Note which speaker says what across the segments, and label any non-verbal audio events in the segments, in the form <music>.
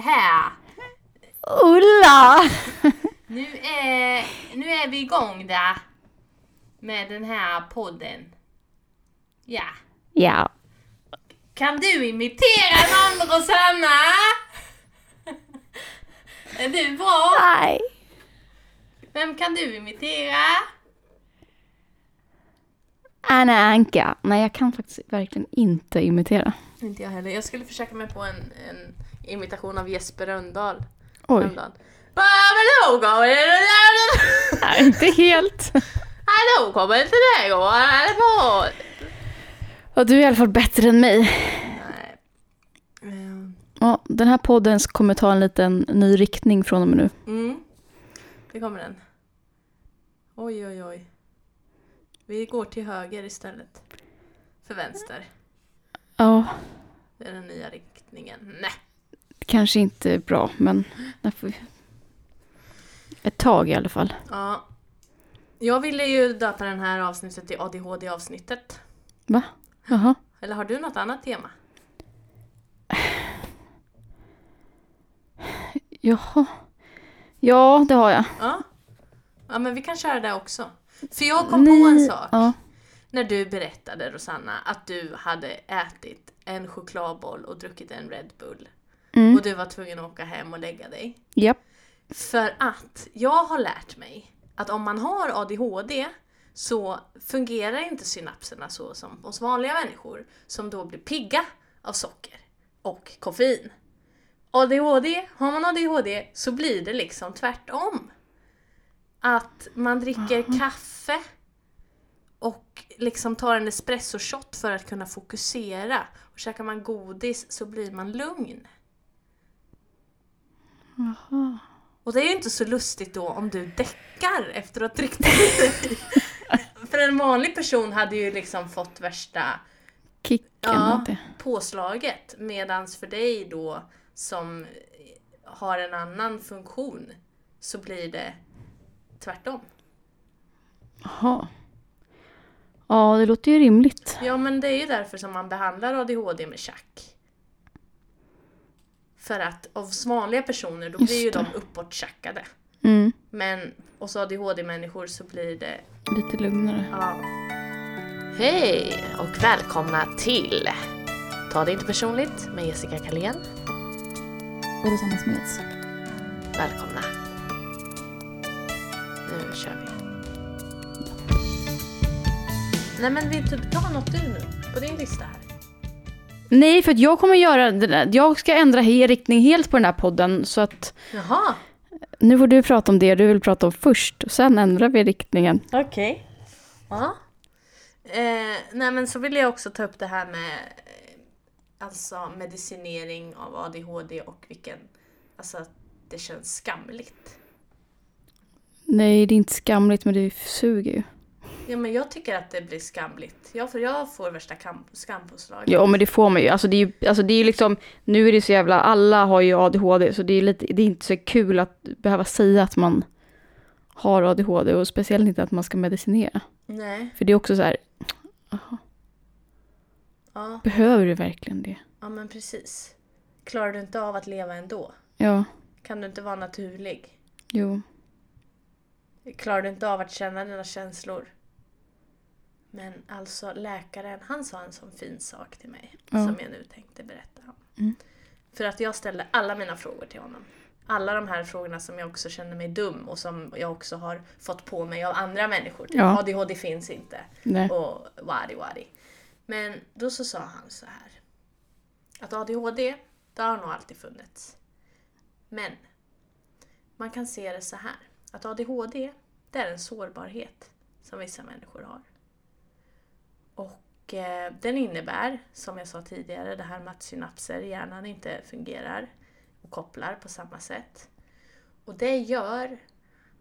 Speaker 1: här!
Speaker 2: Ulla!
Speaker 1: Nu är, nu är vi igång där! Med den här podden. Ja.
Speaker 2: <laughs> Ja.
Speaker 1: Kan du imitera någon Rosanna? Är du bra?
Speaker 2: Nej.
Speaker 1: Vem kan du imitera?
Speaker 2: Anna Anka. Äh, Nej, jag kan faktiskt verkligen inte imitera.
Speaker 1: Inte jag heller. Jag skulle försöka mig på en, en imitation av Jesper Rönndahl.
Speaker 2: Oj.
Speaker 1: Rönndahl. Babbeloo, går det där?
Speaker 2: Nej, inte helt.
Speaker 1: Hallå, kommer inte det gå? Eller på?
Speaker 2: Och du är i alla fall bättre än mig.
Speaker 1: Nej. Ehm,
Speaker 2: Ja, den här podden kommer ta en liten ny riktning från och med nu.
Speaker 1: Mm. Det kommer den. Oj, oj, oj. Vi går till höger istället. För vänster.
Speaker 2: Ja,
Speaker 1: Det är den nya riktningen. Nej.
Speaker 2: kanske inte bra, men där får vi... Ett tag i alla fall.
Speaker 1: Ja. Jag ville ju döpa den här avsnittet till ADHD-avsnittet.
Speaker 2: Va? Jaha.
Speaker 1: Eller har du något annat tema?
Speaker 2: Jaha. Ja, det har jag.
Speaker 1: Ja. Ja, men vi kan köra det också. För jag kom på en
Speaker 2: Ni-
Speaker 1: sak.
Speaker 2: Ja.
Speaker 1: När du berättade, Rosanna, att du hade ätit en chokladboll och druckit en Red Bull.
Speaker 2: Mm.
Speaker 1: Och du var tvungen att åka hem och lägga dig.
Speaker 2: Japp.
Speaker 1: För att jag har lärt mig att om man har ADHD så fungerar inte synapserna så som hos vanliga människor som då blir pigga av socker och koffein. ADHD, har man ADHD så blir det liksom tvärtom. Att man dricker kaffe och liksom tar en espressoshot för att kunna fokusera. Och käkar man godis så blir man lugn.
Speaker 2: Jaha.
Speaker 1: Och det är ju inte så lustigt då om du däckar efter att ha tryckt i dig. För en vanlig person hade ju liksom fått värsta
Speaker 2: Kicken
Speaker 1: Ja.
Speaker 2: av det.
Speaker 1: påslaget medans för dig då som har en annan funktion så blir det tvärtom.
Speaker 2: Jaha. Ja, det låter ju rimligt.
Speaker 1: Ja men det är ju därför som man behandlar ADHD med tjack. För att av vanliga personer då blir ju
Speaker 2: Just
Speaker 1: de uppåttjackade.
Speaker 2: Mm.
Speaker 1: Men hos ADHD-människor så blir det
Speaker 2: Lite lugnare.
Speaker 1: Ja. Hej och välkomna till Ta det inte personligt med Jessica Kalén.
Speaker 2: Och Rosanna Smeds.
Speaker 1: Välkomna. Nu kör vi. Nej men vill du dra något du nu på din lista här?
Speaker 2: Nej, för att jag kommer göra det där. Jag ska ändra he- riktning helt på den här podden. Så att
Speaker 1: Jaha.
Speaker 2: nu får du prata om det du vill prata om först. Och sen ändrar vi riktningen.
Speaker 1: Okej. Ja. Eh, nej men så vill jag också ta upp det här med eh, alltså medicinering av ADHD och vilken, alltså att det känns skamligt.
Speaker 2: Nej, det är inte skamligt, men det suger ju.
Speaker 1: Ja, men jag tycker att det blir skamligt. Jag får, jag får värsta kam, skampåslag.
Speaker 2: Ja, men det får man ju. Alltså det är ju, alltså det är ju liksom, nu är det så jävla, alla har ju ADHD, så det är, lite, det är inte så kul att behöva säga att man har ADHD och speciellt inte att man ska medicinera.
Speaker 1: Nej.
Speaker 2: För det är också så här, aha,
Speaker 1: Ja,
Speaker 2: behöver du verkligen det?
Speaker 1: ja, men precis. Klarar du inte av att leva ändå?
Speaker 2: Ja,
Speaker 1: Kan du inte vara naturlig?
Speaker 2: jo.
Speaker 1: Klarar du inte av att känna dina känslor? Men alltså läkaren, han sa en sån fin sak till mig
Speaker 2: Ja.
Speaker 1: som jag nu tänkte berätta om.
Speaker 2: Mm.
Speaker 1: För att jag ställde alla mina frågor till honom. Alla de här frågorna som jag också känner mig dum och som jag också har fått på mig av andra människor. Typ,
Speaker 2: Ja.
Speaker 1: ADHD finns inte.
Speaker 2: Nej.
Speaker 1: och wadi wadi. Men då så sa han så här. Att ADHD, det har nog alltid funnits. Men man kan se det så här. Att ADHD, det är en sårbarhet som vissa människor har. Och eh, den innebär, som jag sa tidigare, det här med att synapser i hjärnan inte fungerar och kopplar på samma sätt. Och det gör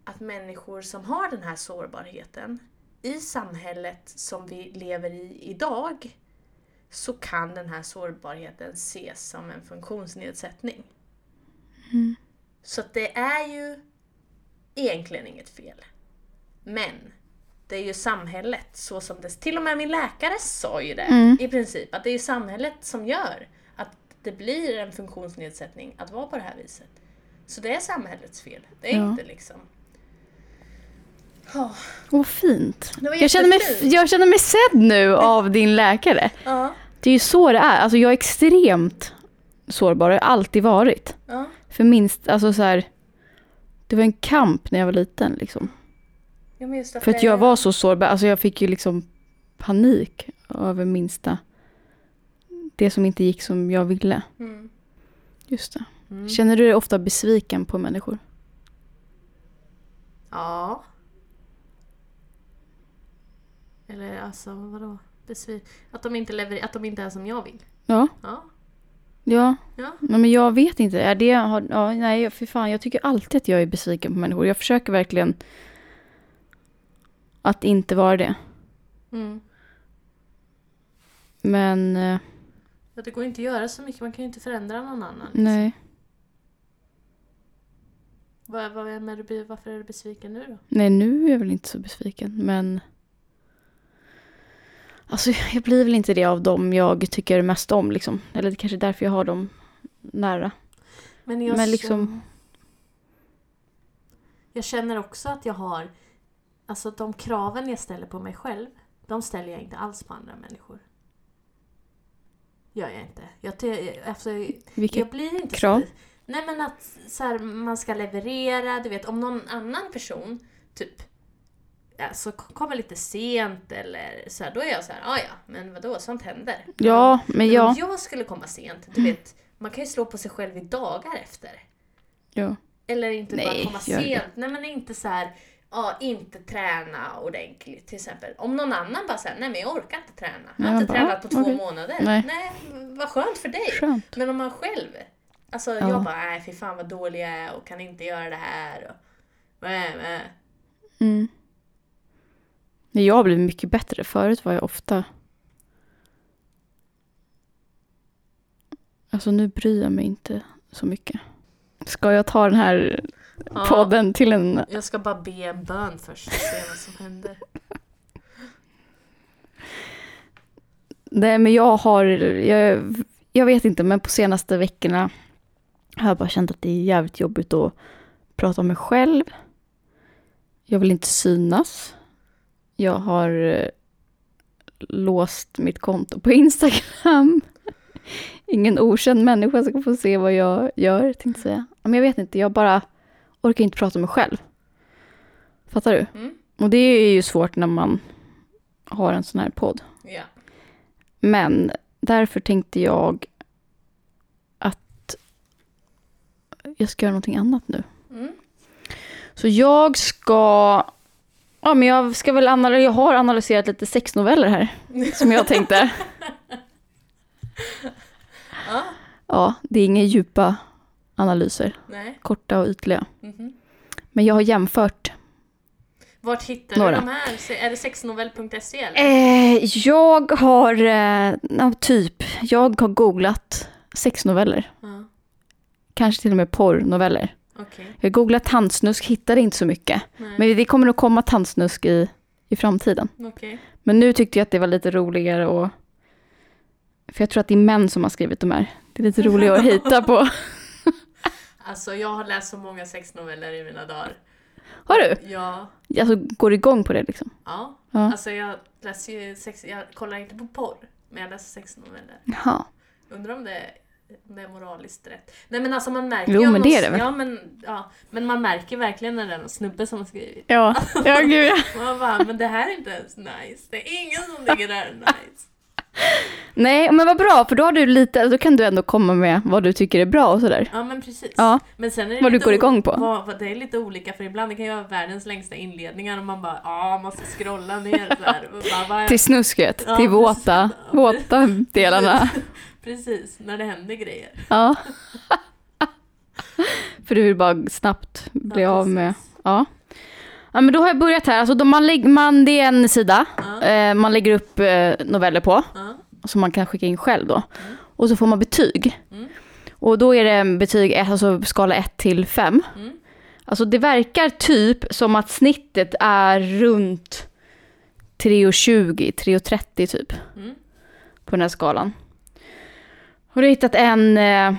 Speaker 1: att människor som har den här sårbarheten i samhället som vi lever i idag så kan den här sårbarheten ses som en funktionsnedsättning.
Speaker 2: Mm.
Speaker 1: Så att det är ju egentligen inget fel. Men det är ju samhället, så
Speaker 2: Mm.
Speaker 1: som det... Till och med min läkare sa ju det i princip, att det är ju samhället som gör att det blir en funktionsnedsättning att vara på det här viset. Så det är samhällets fel. Det är
Speaker 2: Ja.
Speaker 1: inte liksom... Ja.
Speaker 2: Åh, vad fint.
Speaker 1: Det var
Speaker 2: Jag känner, mig,
Speaker 1: jättefint.
Speaker 2: jag känner mig
Speaker 1: <laughs>
Speaker 2: sedd nu av din läkare.
Speaker 1: Ja.
Speaker 2: Det är ju så det är. Alltså jag är extremt sårbar, jag har alltid varit.
Speaker 1: ja.
Speaker 2: För minst, alltså så här, det var en kamp när jag var liten liksom.
Speaker 1: ja men just att
Speaker 2: För att
Speaker 1: det-
Speaker 2: jag var så sårbar, alltså jag fick ju liksom panik över minsta, det som inte gick som jag ville.
Speaker 1: Mm.
Speaker 2: Just det.
Speaker 1: Mm.
Speaker 2: Känner du dig ofta besviken på människor?
Speaker 3: Ja. Eller alltså vadå? Besvi- att, de inte lever- att de inte är som jag vill.
Speaker 2: Ja.
Speaker 3: Ja.
Speaker 2: Ja.
Speaker 3: Ja.
Speaker 2: Nej, men jag vet inte. Är det, har, ja, nej, för fan, jag tycker alltid att jag är besviken på människor. Jag försöker verkligen att inte vara det.
Speaker 3: Mm.
Speaker 2: Men eh,
Speaker 3: Ja, det går inte att göra så mycket, man kan ju inte förändra någon annan. liksom.
Speaker 2: nej,
Speaker 3: Vad, vad är med, du blir- varför är du besviken nu då?
Speaker 2: nej, nu är jag väl inte så besviken. Men alltså, jag blir väl inte det av dem jag tycker mest om. Liksom. Eller det kanske är därför jag har dem nära.
Speaker 3: Men,
Speaker 2: Men liksom-
Speaker 3: Jag känner också att jag har... Alltså de kraven jag ställer på mig själv, de ställer jag inte alls på andra människor. Gör jag inte. Jag, ty- alltså,
Speaker 2: Vilket,
Speaker 3: jag blir inte
Speaker 2: krav?
Speaker 3: Så, nej men att så här, man ska leverera, du vet om någon annan person typ alltså, k- kommer lite sent eller så här, då är jag så här, "Ah, ja men vadå, sånt händer.
Speaker 2: ja, men
Speaker 3: Men om
Speaker 2: ja.
Speaker 3: jag skulle komma sent, du vet, man kan ju slå på sig själv i dagar efter.
Speaker 2: ja.
Speaker 3: Eller inte bara
Speaker 2: Nej,
Speaker 3: komma
Speaker 2: gör det.
Speaker 3: sent. Nej men inte så här, ja inte träna ordentligt till exempel. Om någon annan bara säger nej men jag orkar inte träna. Jag har
Speaker 2: Ja,
Speaker 3: inte
Speaker 2: bara,
Speaker 3: tränat på två
Speaker 2: okej.
Speaker 3: månader.
Speaker 2: Nej.
Speaker 1: vad skönt för dig.
Speaker 2: Skönt.
Speaker 1: Men om man själv, alltså
Speaker 2: Ja.
Speaker 1: jag bara nej fy fan vad dålig jag är och kan inte göra det här. Och, Mäh, mäh.
Speaker 2: Mm. Nej, Jag har blivit mycket bättre. Förut var jag ofta... Alltså nu bryr jag mig inte så mycket. Ska jag ta den här
Speaker 3: Ja.
Speaker 2: podden till en...
Speaker 3: Jag ska bara be en bön först och se vad som händer.
Speaker 2: Nej men jag har... Jag, jag vet inte men på senaste veckorna har jag bara känt att det är jävligt jobbigt att prata om mig själv. Jag vill inte synas. Jag har eh, låst mitt konto på <laughs> Instagram. Ingen okänd människa ska få se vad jag gör, tänkte jag säga. Men jag vet inte, jag bara orkar inte prata om mig själv. Fattar du?
Speaker 1: Mm.
Speaker 2: Och det är ju svårt när man har en sån här podd.
Speaker 1: Ja.
Speaker 2: Men därför tänkte jag att jag ska göra någonting annat nu.
Speaker 1: Mm. <laughs>
Speaker 2: Så jag ska... Ja, men jag, ska väl analy- jag har analyserat lite sexnoveller här, som jag tänkte.
Speaker 1: Ja.
Speaker 2: <laughs> Ja, det är inga djupa analyser,
Speaker 1: Nej.
Speaker 2: korta och ytliga.
Speaker 1: Mhm.
Speaker 2: Men jag har jämfört.
Speaker 1: Vart hittar
Speaker 2: Några.
Speaker 1: du de här? Se- Är det sexnovell.se eller?
Speaker 2: Eh, jag har... Eh, ja, typ, jag har googlat sexnoveller.
Speaker 1: Ja.
Speaker 2: Kanske till och med porrnoveller.
Speaker 1: Okej.
Speaker 2: Jag googlade tandsnusk, hittade inte så mycket.
Speaker 1: Nej.
Speaker 2: Mm. Men det kommer nog komma tandsnusk i, i framtiden.
Speaker 1: Okej.
Speaker 2: Men nu tyckte jag att det var lite roligare och... För jag tror att det är män som har skrivit de här. Det är lite roligare att
Speaker 1: <laughs>
Speaker 2: hitta på.
Speaker 1: Alltså jag har läst så många sexnoveller i mina dagar.
Speaker 2: Har du?
Speaker 1: Ja.
Speaker 2: Alltså går igång på det liksom.
Speaker 1: Ja.
Speaker 2: Ja.
Speaker 1: Alltså jag läser ju sex, jag kollar inte på porr. Men jag läser sexnoveller.
Speaker 2: Jaha.
Speaker 1: Undrar om det, om det är moraliskt rätt. Nej men alltså man märker
Speaker 2: Jo,
Speaker 1: ju om
Speaker 2: men
Speaker 1: någon-
Speaker 2: det är det väl.
Speaker 1: Ja men, ja, men man märker verkligen när det är någon snubbe som har skrivit.
Speaker 2: Ja,
Speaker 1: <laughs>
Speaker 2: ja gud ja.
Speaker 1: Man bara, men det här är inte ens nice. Det är ingen som tycker det här är nice.
Speaker 2: Nej, men vad bra för då har du lite, då kan du ändå komma med vad du tycker är bra och sådär.
Speaker 1: Ja men precis.
Speaker 2: Ja,
Speaker 1: Men sen är det
Speaker 2: vad du
Speaker 1: lite
Speaker 2: går
Speaker 1: o-
Speaker 2: igång på.
Speaker 1: Vad, vad, det är lite olika för ibland det kan ju vara världens längsta inledningar och man bara ja, måste scrolla ner så här. Och bara, vad är-
Speaker 2: Till snusket,
Speaker 1: Ja,
Speaker 2: till
Speaker 1: precis.
Speaker 2: våta,
Speaker 1: Ja,
Speaker 2: våta delarna.
Speaker 1: Precis, när det händer grejer. <laughs>
Speaker 2: Ja. För du vill bara snabbt bli
Speaker 1: Ja,
Speaker 2: av med...
Speaker 1: precis.
Speaker 2: Ja. ja. men då har jag börjat här. Alltså, då man lägger, man, det är en sida
Speaker 1: Ja.
Speaker 2: eh, man lägger upp eh, noveller på,
Speaker 1: Ja.
Speaker 2: som man kan skicka in själv då.
Speaker 1: Mm.
Speaker 2: Och så får man betyg. Och då är det betyg, ett, alltså skala 1 till 5.
Speaker 1: Mm.
Speaker 2: Alltså det verkar typ som att snittet är runt 3,20, 3,30 typ.
Speaker 1: Mm.
Speaker 2: På den här skalan. Har du hittat en eh,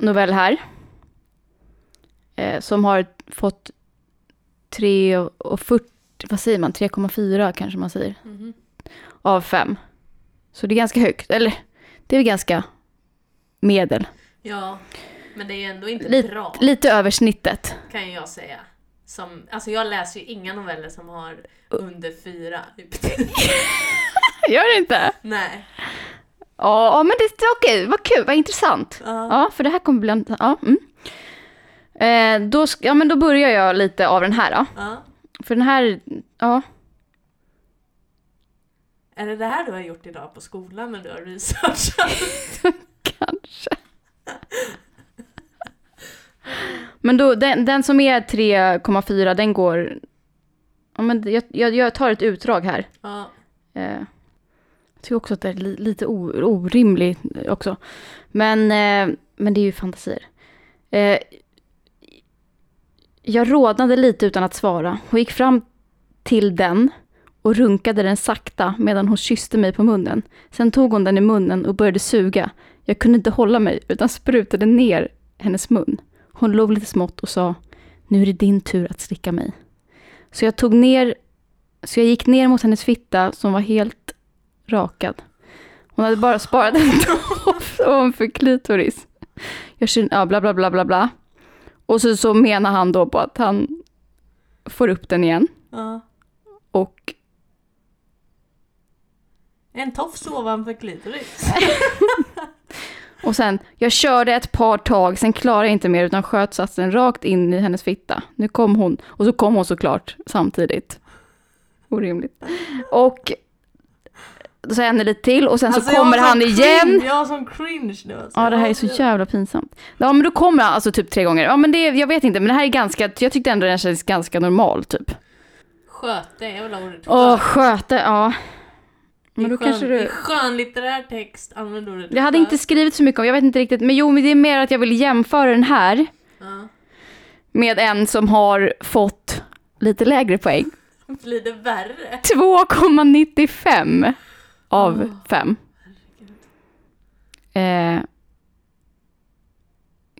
Speaker 2: novell här? Eh, som har fått 3 och 40, vad säger man, 3,4 kanske man säger,
Speaker 1: Mhm.
Speaker 2: av 5. Så det är ganska högt, eller det är väl ganska medel.
Speaker 1: Ja, men det är ju ändå inte
Speaker 2: Lite-
Speaker 1: bra
Speaker 2: Lite över snittet.
Speaker 1: kan ju jag säga. Som, alltså jag läser ju inga noveller som har under fyra.
Speaker 2: <laughs>
Speaker 1: <laughs>
Speaker 2: Gör det inte?
Speaker 1: Nej.
Speaker 2: Ja, ja, men det var okej, vad kul, vad intressant.
Speaker 1: Ja.
Speaker 2: Ja, för det här kommer bli... en- Ja, mm. eh, då, sk- ja, men då börjar jag lite av den här då.
Speaker 1: ja.
Speaker 2: För den här, ja.
Speaker 1: Är det det här du har gjort idag på skolan när du har researchat?
Speaker 2: Kanske. Men då, den, den som är 3,4, den går... Ja, men jag, jag, jag tar ett utdrag här.
Speaker 1: <laughs> Ja.
Speaker 2: Eh, jag tycker också att det är li, lite o, orimligt också. Men, eh, men det är ju fantasier. Eh, jag rodnade lite utan att svara och gick fram till den och runkade den sakta medan hon kysste mig på munnen. Sen tog hon den i munnen och började suga. Jag kunde inte hålla mig utan sprutade ner hennes mun. Hon log lite smått och sa Nu är det din tur att slicka mig. Så jag tog ner så jag gick ner mot hennes fitta som var helt rakad. Hon hade bara sparat en tofs ovanför klitoris. Jag kände, ja, bla bla bla bla bla. Och så, så menar han då på att han får upp den igen
Speaker 1: ja.
Speaker 2: och
Speaker 1: En tofs ovanför
Speaker 2: <laughs>
Speaker 1: klitoris.
Speaker 2: Alltså, Och sen, jag körde ett par tag, sen klarade jag inte mer utan sköt satsen rakt in i hennes fitta. Nu kom hon, och så kom hon såklart samtidigt. Orimligt. Och så händer det till och sen så
Speaker 1: Alltså, jag
Speaker 2: kommer
Speaker 1: har
Speaker 2: han
Speaker 1: sån
Speaker 2: igen.
Speaker 1: Cringe, jag har sån cringe nu alltså.
Speaker 2: Ja, det här är så jävla pinsamt. Ja, men då kommer han alltså typ tre gånger. Ja, men det, jag vet inte, men det här är ganska, jag tyckte ändå den kändes ganska normal typ.
Speaker 1: Sköte, jag vill ha ordet skön.
Speaker 2: Åh, sköte, ja. Men då
Speaker 1: I skön-
Speaker 2: kanske du...
Speaker 1: I skönlitterär text använder ordet
Speaker 2: Jag hade
Speaker 1: skön.
Speaker 2: inte skrivit så mycket om, jag vet inte riktigt, men jo, men det är mer att jag vill jämföra den här
Speaker 1: Ja.
Speaker 2: med en som har fått lite lägre poäng.
Speaker 1: Blir det värre?
Speaker 2: 2,95 av
Speaker 1: Åh.
Speaker 2: 5. Eh,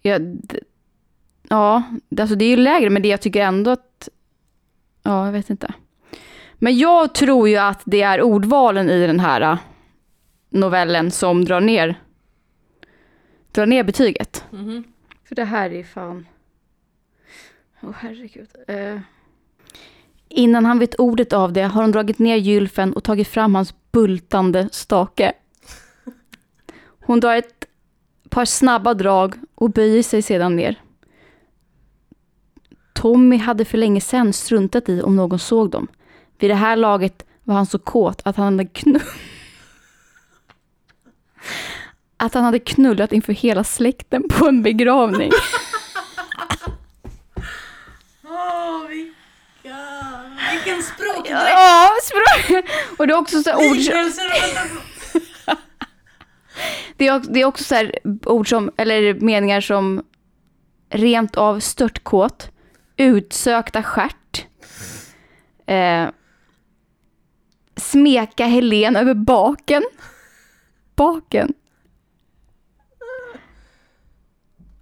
Speaker 2: ja, d- ja, det- alltså det är ju lägre, men det jag tycker ändå att... Ja, jag vet inte. Men jag tror ju att det är ordvalen i den här eh, novellen som drar ner, drar ner betyget.
Speaker 1: Mhm.
Speaker 2: För det här är fan... Åh herregud. Eh. Innan han vet ordet av det har hon dragit ner gylfen och tagit fram hans bultande stake. Hon drar ett par snabba drag och böjer sig sedan ner. Tommy hade för länge sedan struntat i om någon såg dem. Vid det här laget var han så kåt att han hade knu- att han hade knullat inför hela släkten på en begravning.
Speaker 1: Åh, vilka... Vilken språkdräkt!
Speaker 2: Ja, språk. Och det är också så här ord,
Speaker 1: Liknelser och metafor.
Speaker 2: det är, också- det är också så här ord som, eller meningar som rent av störtkåt, utsökta stjärt, eh, smeka Helen över baken, baken.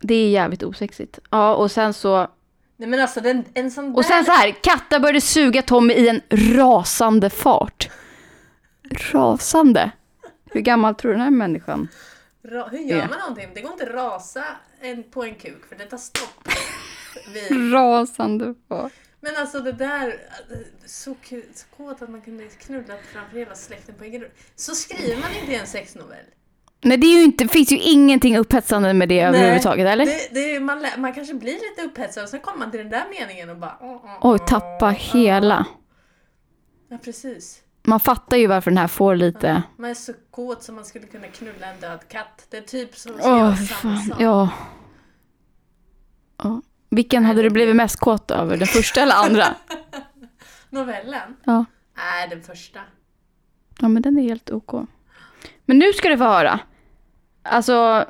Speaker 2: Det är jävligt osexigt. Ja, och sen så
Speaker 1: Nej men alltså den, en sån
Speaker 2: Och sen så här, Katta började suga Tommy i en rasande fart. Rasande? Hur gammal tror du den här människan?
Speaker 1: Ra- Hur gör
Speaker 2: Ja.
Speaker 1: man någonting? Det går inte att rasa en, på en kuk för det tar
Speaker 2: <laughs>
Speaker 1: stopp. Vi.
Speaker 2: Rasande fart.
Speaker 1: Men alltså det där, eh, så, ku- så kåt att man kunde knulla framför hela släkten på egen Så skriver man inte i en sexnovell.
Speaker 2: Nej, det är ju inte, finns ju ingenting upphetsande med det överhuvudtaget, eller?
Speaker 1: Det, det, är- man, lä- man kanske blir lite upphetsad och sen kommer man till den där meningen och bara... "Ah, "Åh, åh,
Speaker 2: Oj,
Speaker 1: åh,
Speaker 2: tappa
Speaker 1: åh."
Speaker 2: hela.
Speaker 1: Ja precis.
Speaker 2: Man fattar ju varför den här får lite...
Speaker 1: Man är så kåt som man skulle kunna knulla en död katt. Det är typ som att
Speaker 2: Åh,
Speaker 1: göra
Speaker 2: fy
Speaker 1: samma
Speaker 2: fan.
Speaker 1: sak.
Speaker 2: Ja. ja. Vilken hade du blivit mest kåt över? Den första eller andra?
Speaker 1: Novellen?
Speaker 2: <laughs> Ja.
Speaker 1: Nej, den första.
Speaker 2: Ja, men den är helt ok. Men nu ska du få höra. Alltså,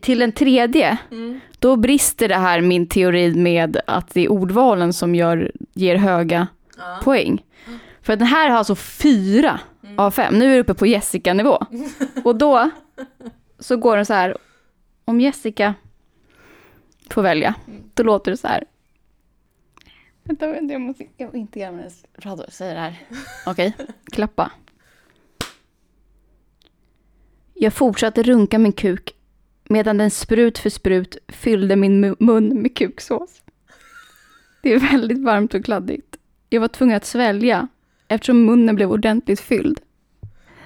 Speaker 2: till den tredje,
Speaker 1: Mm.
Speaker 2: då brister det här min teori med att det är ordvalen som gör, ger höga
Speaker 1: Ja. Mm.
Speaker 2: poäng.
Speaker 1: <laughs>
Speaker 2: För den här har alltså fyra av fem. Nu är du uppe på Jessica-nivå. Och då så går den så här, om Jessica får välja,
Speaker 1: Mm.
Speaker 2: då låter det så här. Vänta, vänta, jag måste jag får inte göra mina rador, säger det här. Okej, klappa. Jag fortsatte runka min kuk medan den sprut för sprut fyllde min mu- mun med kuksås. Det är väldigt varmt och kladdigt. Jag var tvungen att svälja eftersom munnen blev ordentligt fylld.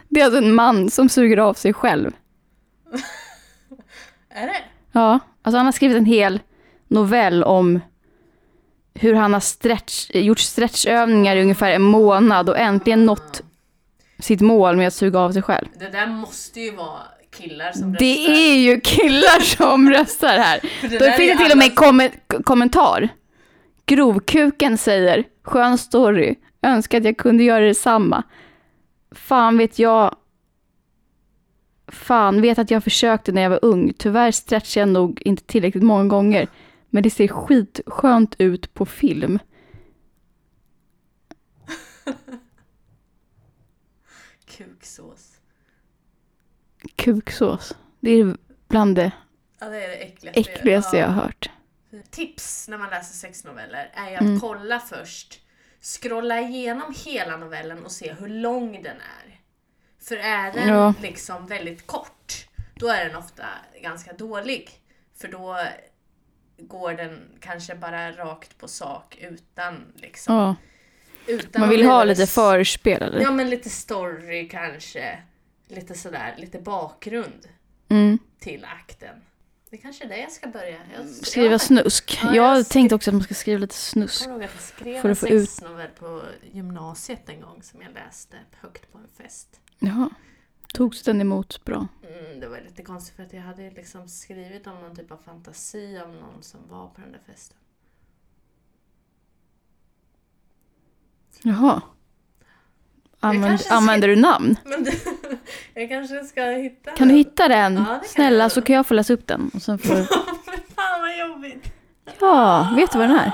Speaker 2: Det är alltså en man som suger av sig själv.
Speaker 1: Är det?
Speaker 2: Ja, alltså han har skrivit en hel novell om hur han har stretch, gjort stretchövningar i ungefär en månad och äntligen nått sitt mål med att suga av sig själv.
Speaker 1: Det där måste ju vara killar som
Speaker 2: Det är ju killar som röstar här.
Speaker 1: För
Speaker 2: Då
Speaker 1: där är
Speaker 2: finns det
Speaker 1: ju
Speaker 2: till och med
Speaker 1: alla-
Speaker 2: kom kommentar. Grovkuken säger, skön story, önskar att jag kunde göra detsamma. Fan vet jag, fan vet att jag försökte när jag var ung. Tyvärr stretchade jag nog inte tillräckligt många gånger. Men det ser skitskönt ut på film.
Speaker 1: Kuksås.
Speaker 2: Kuksås, det är bland det
Speaker 1: Ja, det är det äckligaste, jag-
Speaker 2: äckligaste
Speaker 1: ja.
Speaker 2: jag har hört.
Speaker 1: Tips när man läser sexnoveller är ju att
Speaker 2: Mm.
Speaker 1: kolla först, scrolla igenom hela novellen och se hur lång den är. För är den
Speaker 2: Ja.
Speaker 1: liksom väldigt kort, då är den ofta ganska dålig. För då går den kanske bara rakt på sak utan liksom...
Speaker 2: Ja,
Speaker 1: Utan
Speaker 2: man
Speaker 1: att
Speaker 2: vill ha
Speaker 1: vidare-
Speaker 2: lite förspel eller?
Speaker 1: Ja men lite story kanske. Lite sådär, lite bakgrund
Speaker 2: Mm.
Speaker 1: till akten. Det kanske är det jag ska börja. Jag,
Speaker 2: Skriva
Speaker 1: jag,
Speaker 2: snusk.
Speaker 1: Ja, jag
Speaker 2: jag
Speaker 1: skri-
Speaker 2: tänkte också att man ska skriva lite snusk.
Speaker 1: kommer ihåg att jag skrev
Speaker 2: Får du
Speaker 1: en
Speaker 2: få ut-
Speaker 1: sexnovell på gymnasiet en gång som jag läste högt på en fest.
Speaker 2: Jaha. Togs den emot bra?
Speaker 1: Mm, det var lite konstigt för att jag hade ju liksom skrivit om någon typ av fantasi om någon som var på den där festen.
Speaker 2: Jaha. Använd,
Speaker 1: kanske ska-
Speaker 2: använder du namn?
Speaker 1: Men <laughs> du, jag kanske ska hitta
Speaker 2: Kan du
Speaker 1: den.
Speaker 2: hitta den?
Speaker 1: Ja, det kan
Speaker 2: Snälla,
Speaker 1: jag.
Speaker 2: så kan jag få läsa upp den. Och sen får...
Speaker 1: Fan vad jobbigt!
Speaker 2: Ja, vet du vad den är?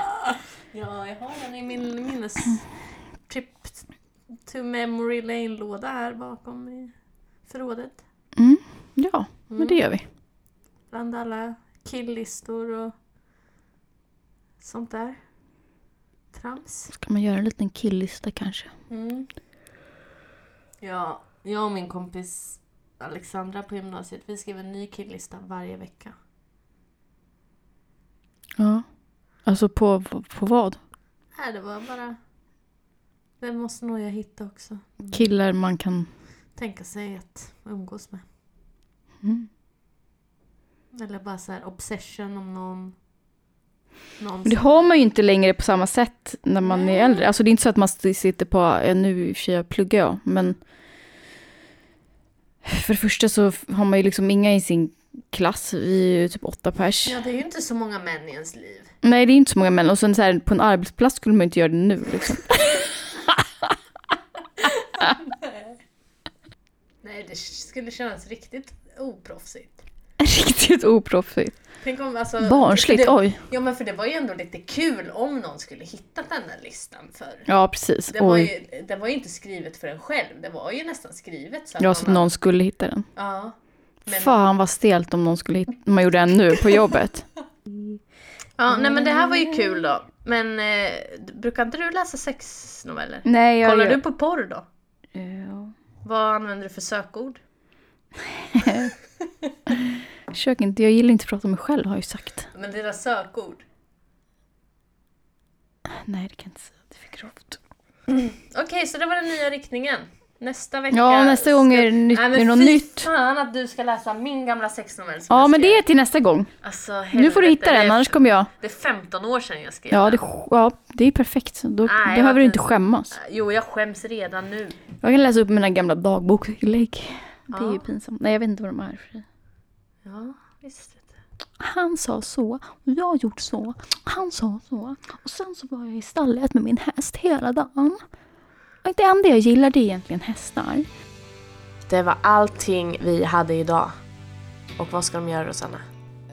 Speaker 1: Ja, jag har den i min minnes... Trip to memory lane-låda här bakom i förrådet.
Speaker 2: Mm. Ja,
Speaker 1: Mm.
Speaker 2: men det gör vi.
Speaker 1: Bland alla killlistor och sånt där. Trams.
Speaker 2: Ska man göra en liten killlista kanske?
Speaker 1: Mm. Ja, jag och min kompis Alexandra på gymnasiet, vi skrev en ny killlista varje vecka.
Speaker 2: Ja. Alltså på, på vad?
Speaker 1: Nej, Äh, det var bara... Den måste nog jag hitta också.
Speaker 2: Killar man kan...
Speaker 1: Tänka sig att umgås med.
Speaker 2: Mm.
Speaker 1: Eller bara så här obsession om någon. någon
Speaker 2: Men det
Speaker 1: som-
Speaker 2: har man ju inte längre på samma sätt när man
Speaker 1: Nej.
Speaker 2: är äldre. Alltså det är inte så att man st- sitter på, ja, nu i och för sig jag pluggar jag, men för det första så f- har man ju liksom inga i sin klass, vi är ju typ åtta pers.
Speaker 1: Ja, det är ju inte så många män i ens liv.
Speaker 2: Nej det är inte så många män, och sen så här, på en arbetsplats skulle man ju inte göra det nu <laughs> liksom.
Speaker 1: Nej, det skulle kännas riktigt oproffsigt.
Speaker 2: Riktigt oproffsigt.
Speaker 1: Tänk om alltså...
Speaker 2: Barnsligt,
Speaker 1: det,
Speaker 2: oj.
Speaker 1: Ja, men för det var ju ändå lite kul om någon skulle hitta den där listan förr.
Speaker 2: Ja precis,
Speaker 1: Det var,
Speaker 2: oj.
Speaker 1: ju, det var ju inte skrivet för en själv, det var ju nästan skrivet så att
Speaker 2: Ja, så att
Speaker 1: man-
Speaker 2: någon skulle hitta den.
Speaker 1: Ja. Men,
Speaker 2: Fan vad stelt om någon skulle hitta, om man gjorde den nu på jobbet.
Speaker 1: ja, nej men det här var ju kul då. Men eh, brukar inte du läsa sexnoveller?
Speaker 2: <laughs> Nej, Eh,
Speaker 1: Kollar du på porr då?
Speaker 2: Ja.
Speaker 1: Vad använder du för sökord?
Speaker 2: Försök inte, jag gillar inte att prata om mig själv har jag ju sagt.
Speaker 1: Men dina sökord?
Speaker 2: Nej, det kan jag inte säga. Det är för grovt.
Speaker 1: Okej, så det var den nya riktningen. Nästa vecka...
Speaker 2: Ja, nästa gång är det, nytt,
Speaker 1: Nej,
Speaker 2: är
Speaker 1: men
Speaker 2: det något
Speaker 1: fy
Speaker 2: nytt.
Speaker 1: fan att du ska läsa min gamla sexnovell som
Speaker 2: Ja,
Speaker 1: jag
Speaker 2: men det
Speaker 1: skrev.
Speaker 2: är till nästa gång.
Speaker 1: Alltså,
Speaker 2: Nu får du
Speaker 1: helvete,
Speaker 2: hitta
Speaker 1: det
Speaker 2: den,
Speaker 1: är-
Speaker 2: annars kommer jag...
Speaker 1: Det är 15 år sedan jag skrev
Speaker 2: Ja,
Speaker 1: den.
Speaker 2: det, ja, det är perfekt. Då
Speaker 1: Nej,
Speaker 2: behöver
Speaker 1: vad
Speaker 2: du inte
Speaker 1: fint.
Speaker 2: skämmas.
Speaker 1: Jo, jag skäms redan nu.
Speaker 2: Jag kan läsa upp mina gamla dagboksinlägg. Det är
Speaker 1: Ja.
Speaker 2: ju pinsamt. Nej, jag vet inte vad de är. för sig.
Speaker 1: Ja, visst.
Speaker 2: Han sa så, och jag har gjort så. Han sa så. Och sen så var jag i stallet med min häst hela dagen. Och det enda jag gillar det är egentligen hästar.
Speaker 1: Det var allting vi hade idag. Och vad ska de göra Rosanna?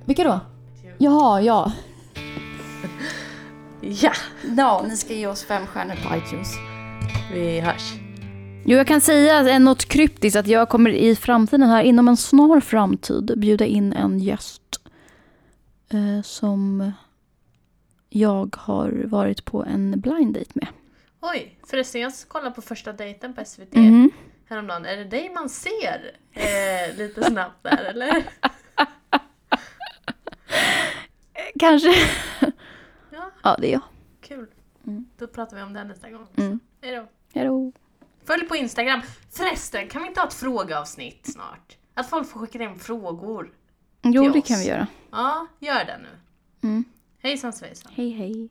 Speaker 2: Vilka då? Ja, ja.
Speaker 1: Ja,
Speaker 2: Ja, ni ska ge oss fem stjärnor på iTunes.
Speaker 1: vi hörs.
Speaker 2: Jo, jag kan säga eh, något kryptiskt att jag kommer i framtiden här, inom en snar framtid, bjuda in en gäst. Eh, som jag har varit på en blind date med.
Speaker 1: Oj, förresten jag kollade på första dejten på SVT
Speaker 2: Mhm.
Speaker 1: häromdagen. Är det dig man ser eh, lite snabbt där
Speaker 2: <laughs>
Speaker 1: eller?
Speaker 2: Kanske. <laughs>
Speaker 1: Ja.
Speaker 2: ja, det är jag.
Speaker 1: Kul.
Speaker 2: Mm.
Speaker 1: Då pratar vi om det nästa gång.
Speaker 2: Mm.
Speaker 1: Hejdå.
Speaker 2: Hejdå.
Speaker 1: Följ på Instagram. Förresten, kan vi inte ha ett frågeavsnitt snart? Att folk får skicka in frågor.
Speaker 2: Jo,
Speaker 1: Till
Speaker 2: det
Speaker 1: oss.
Speaker 2: kan vi göra.
Speaker 1: Ja, gör det nu.
Speaker 2: Mm.
Speaker 1: Hejsan svejsan.
Speaker 2: Hej, hej.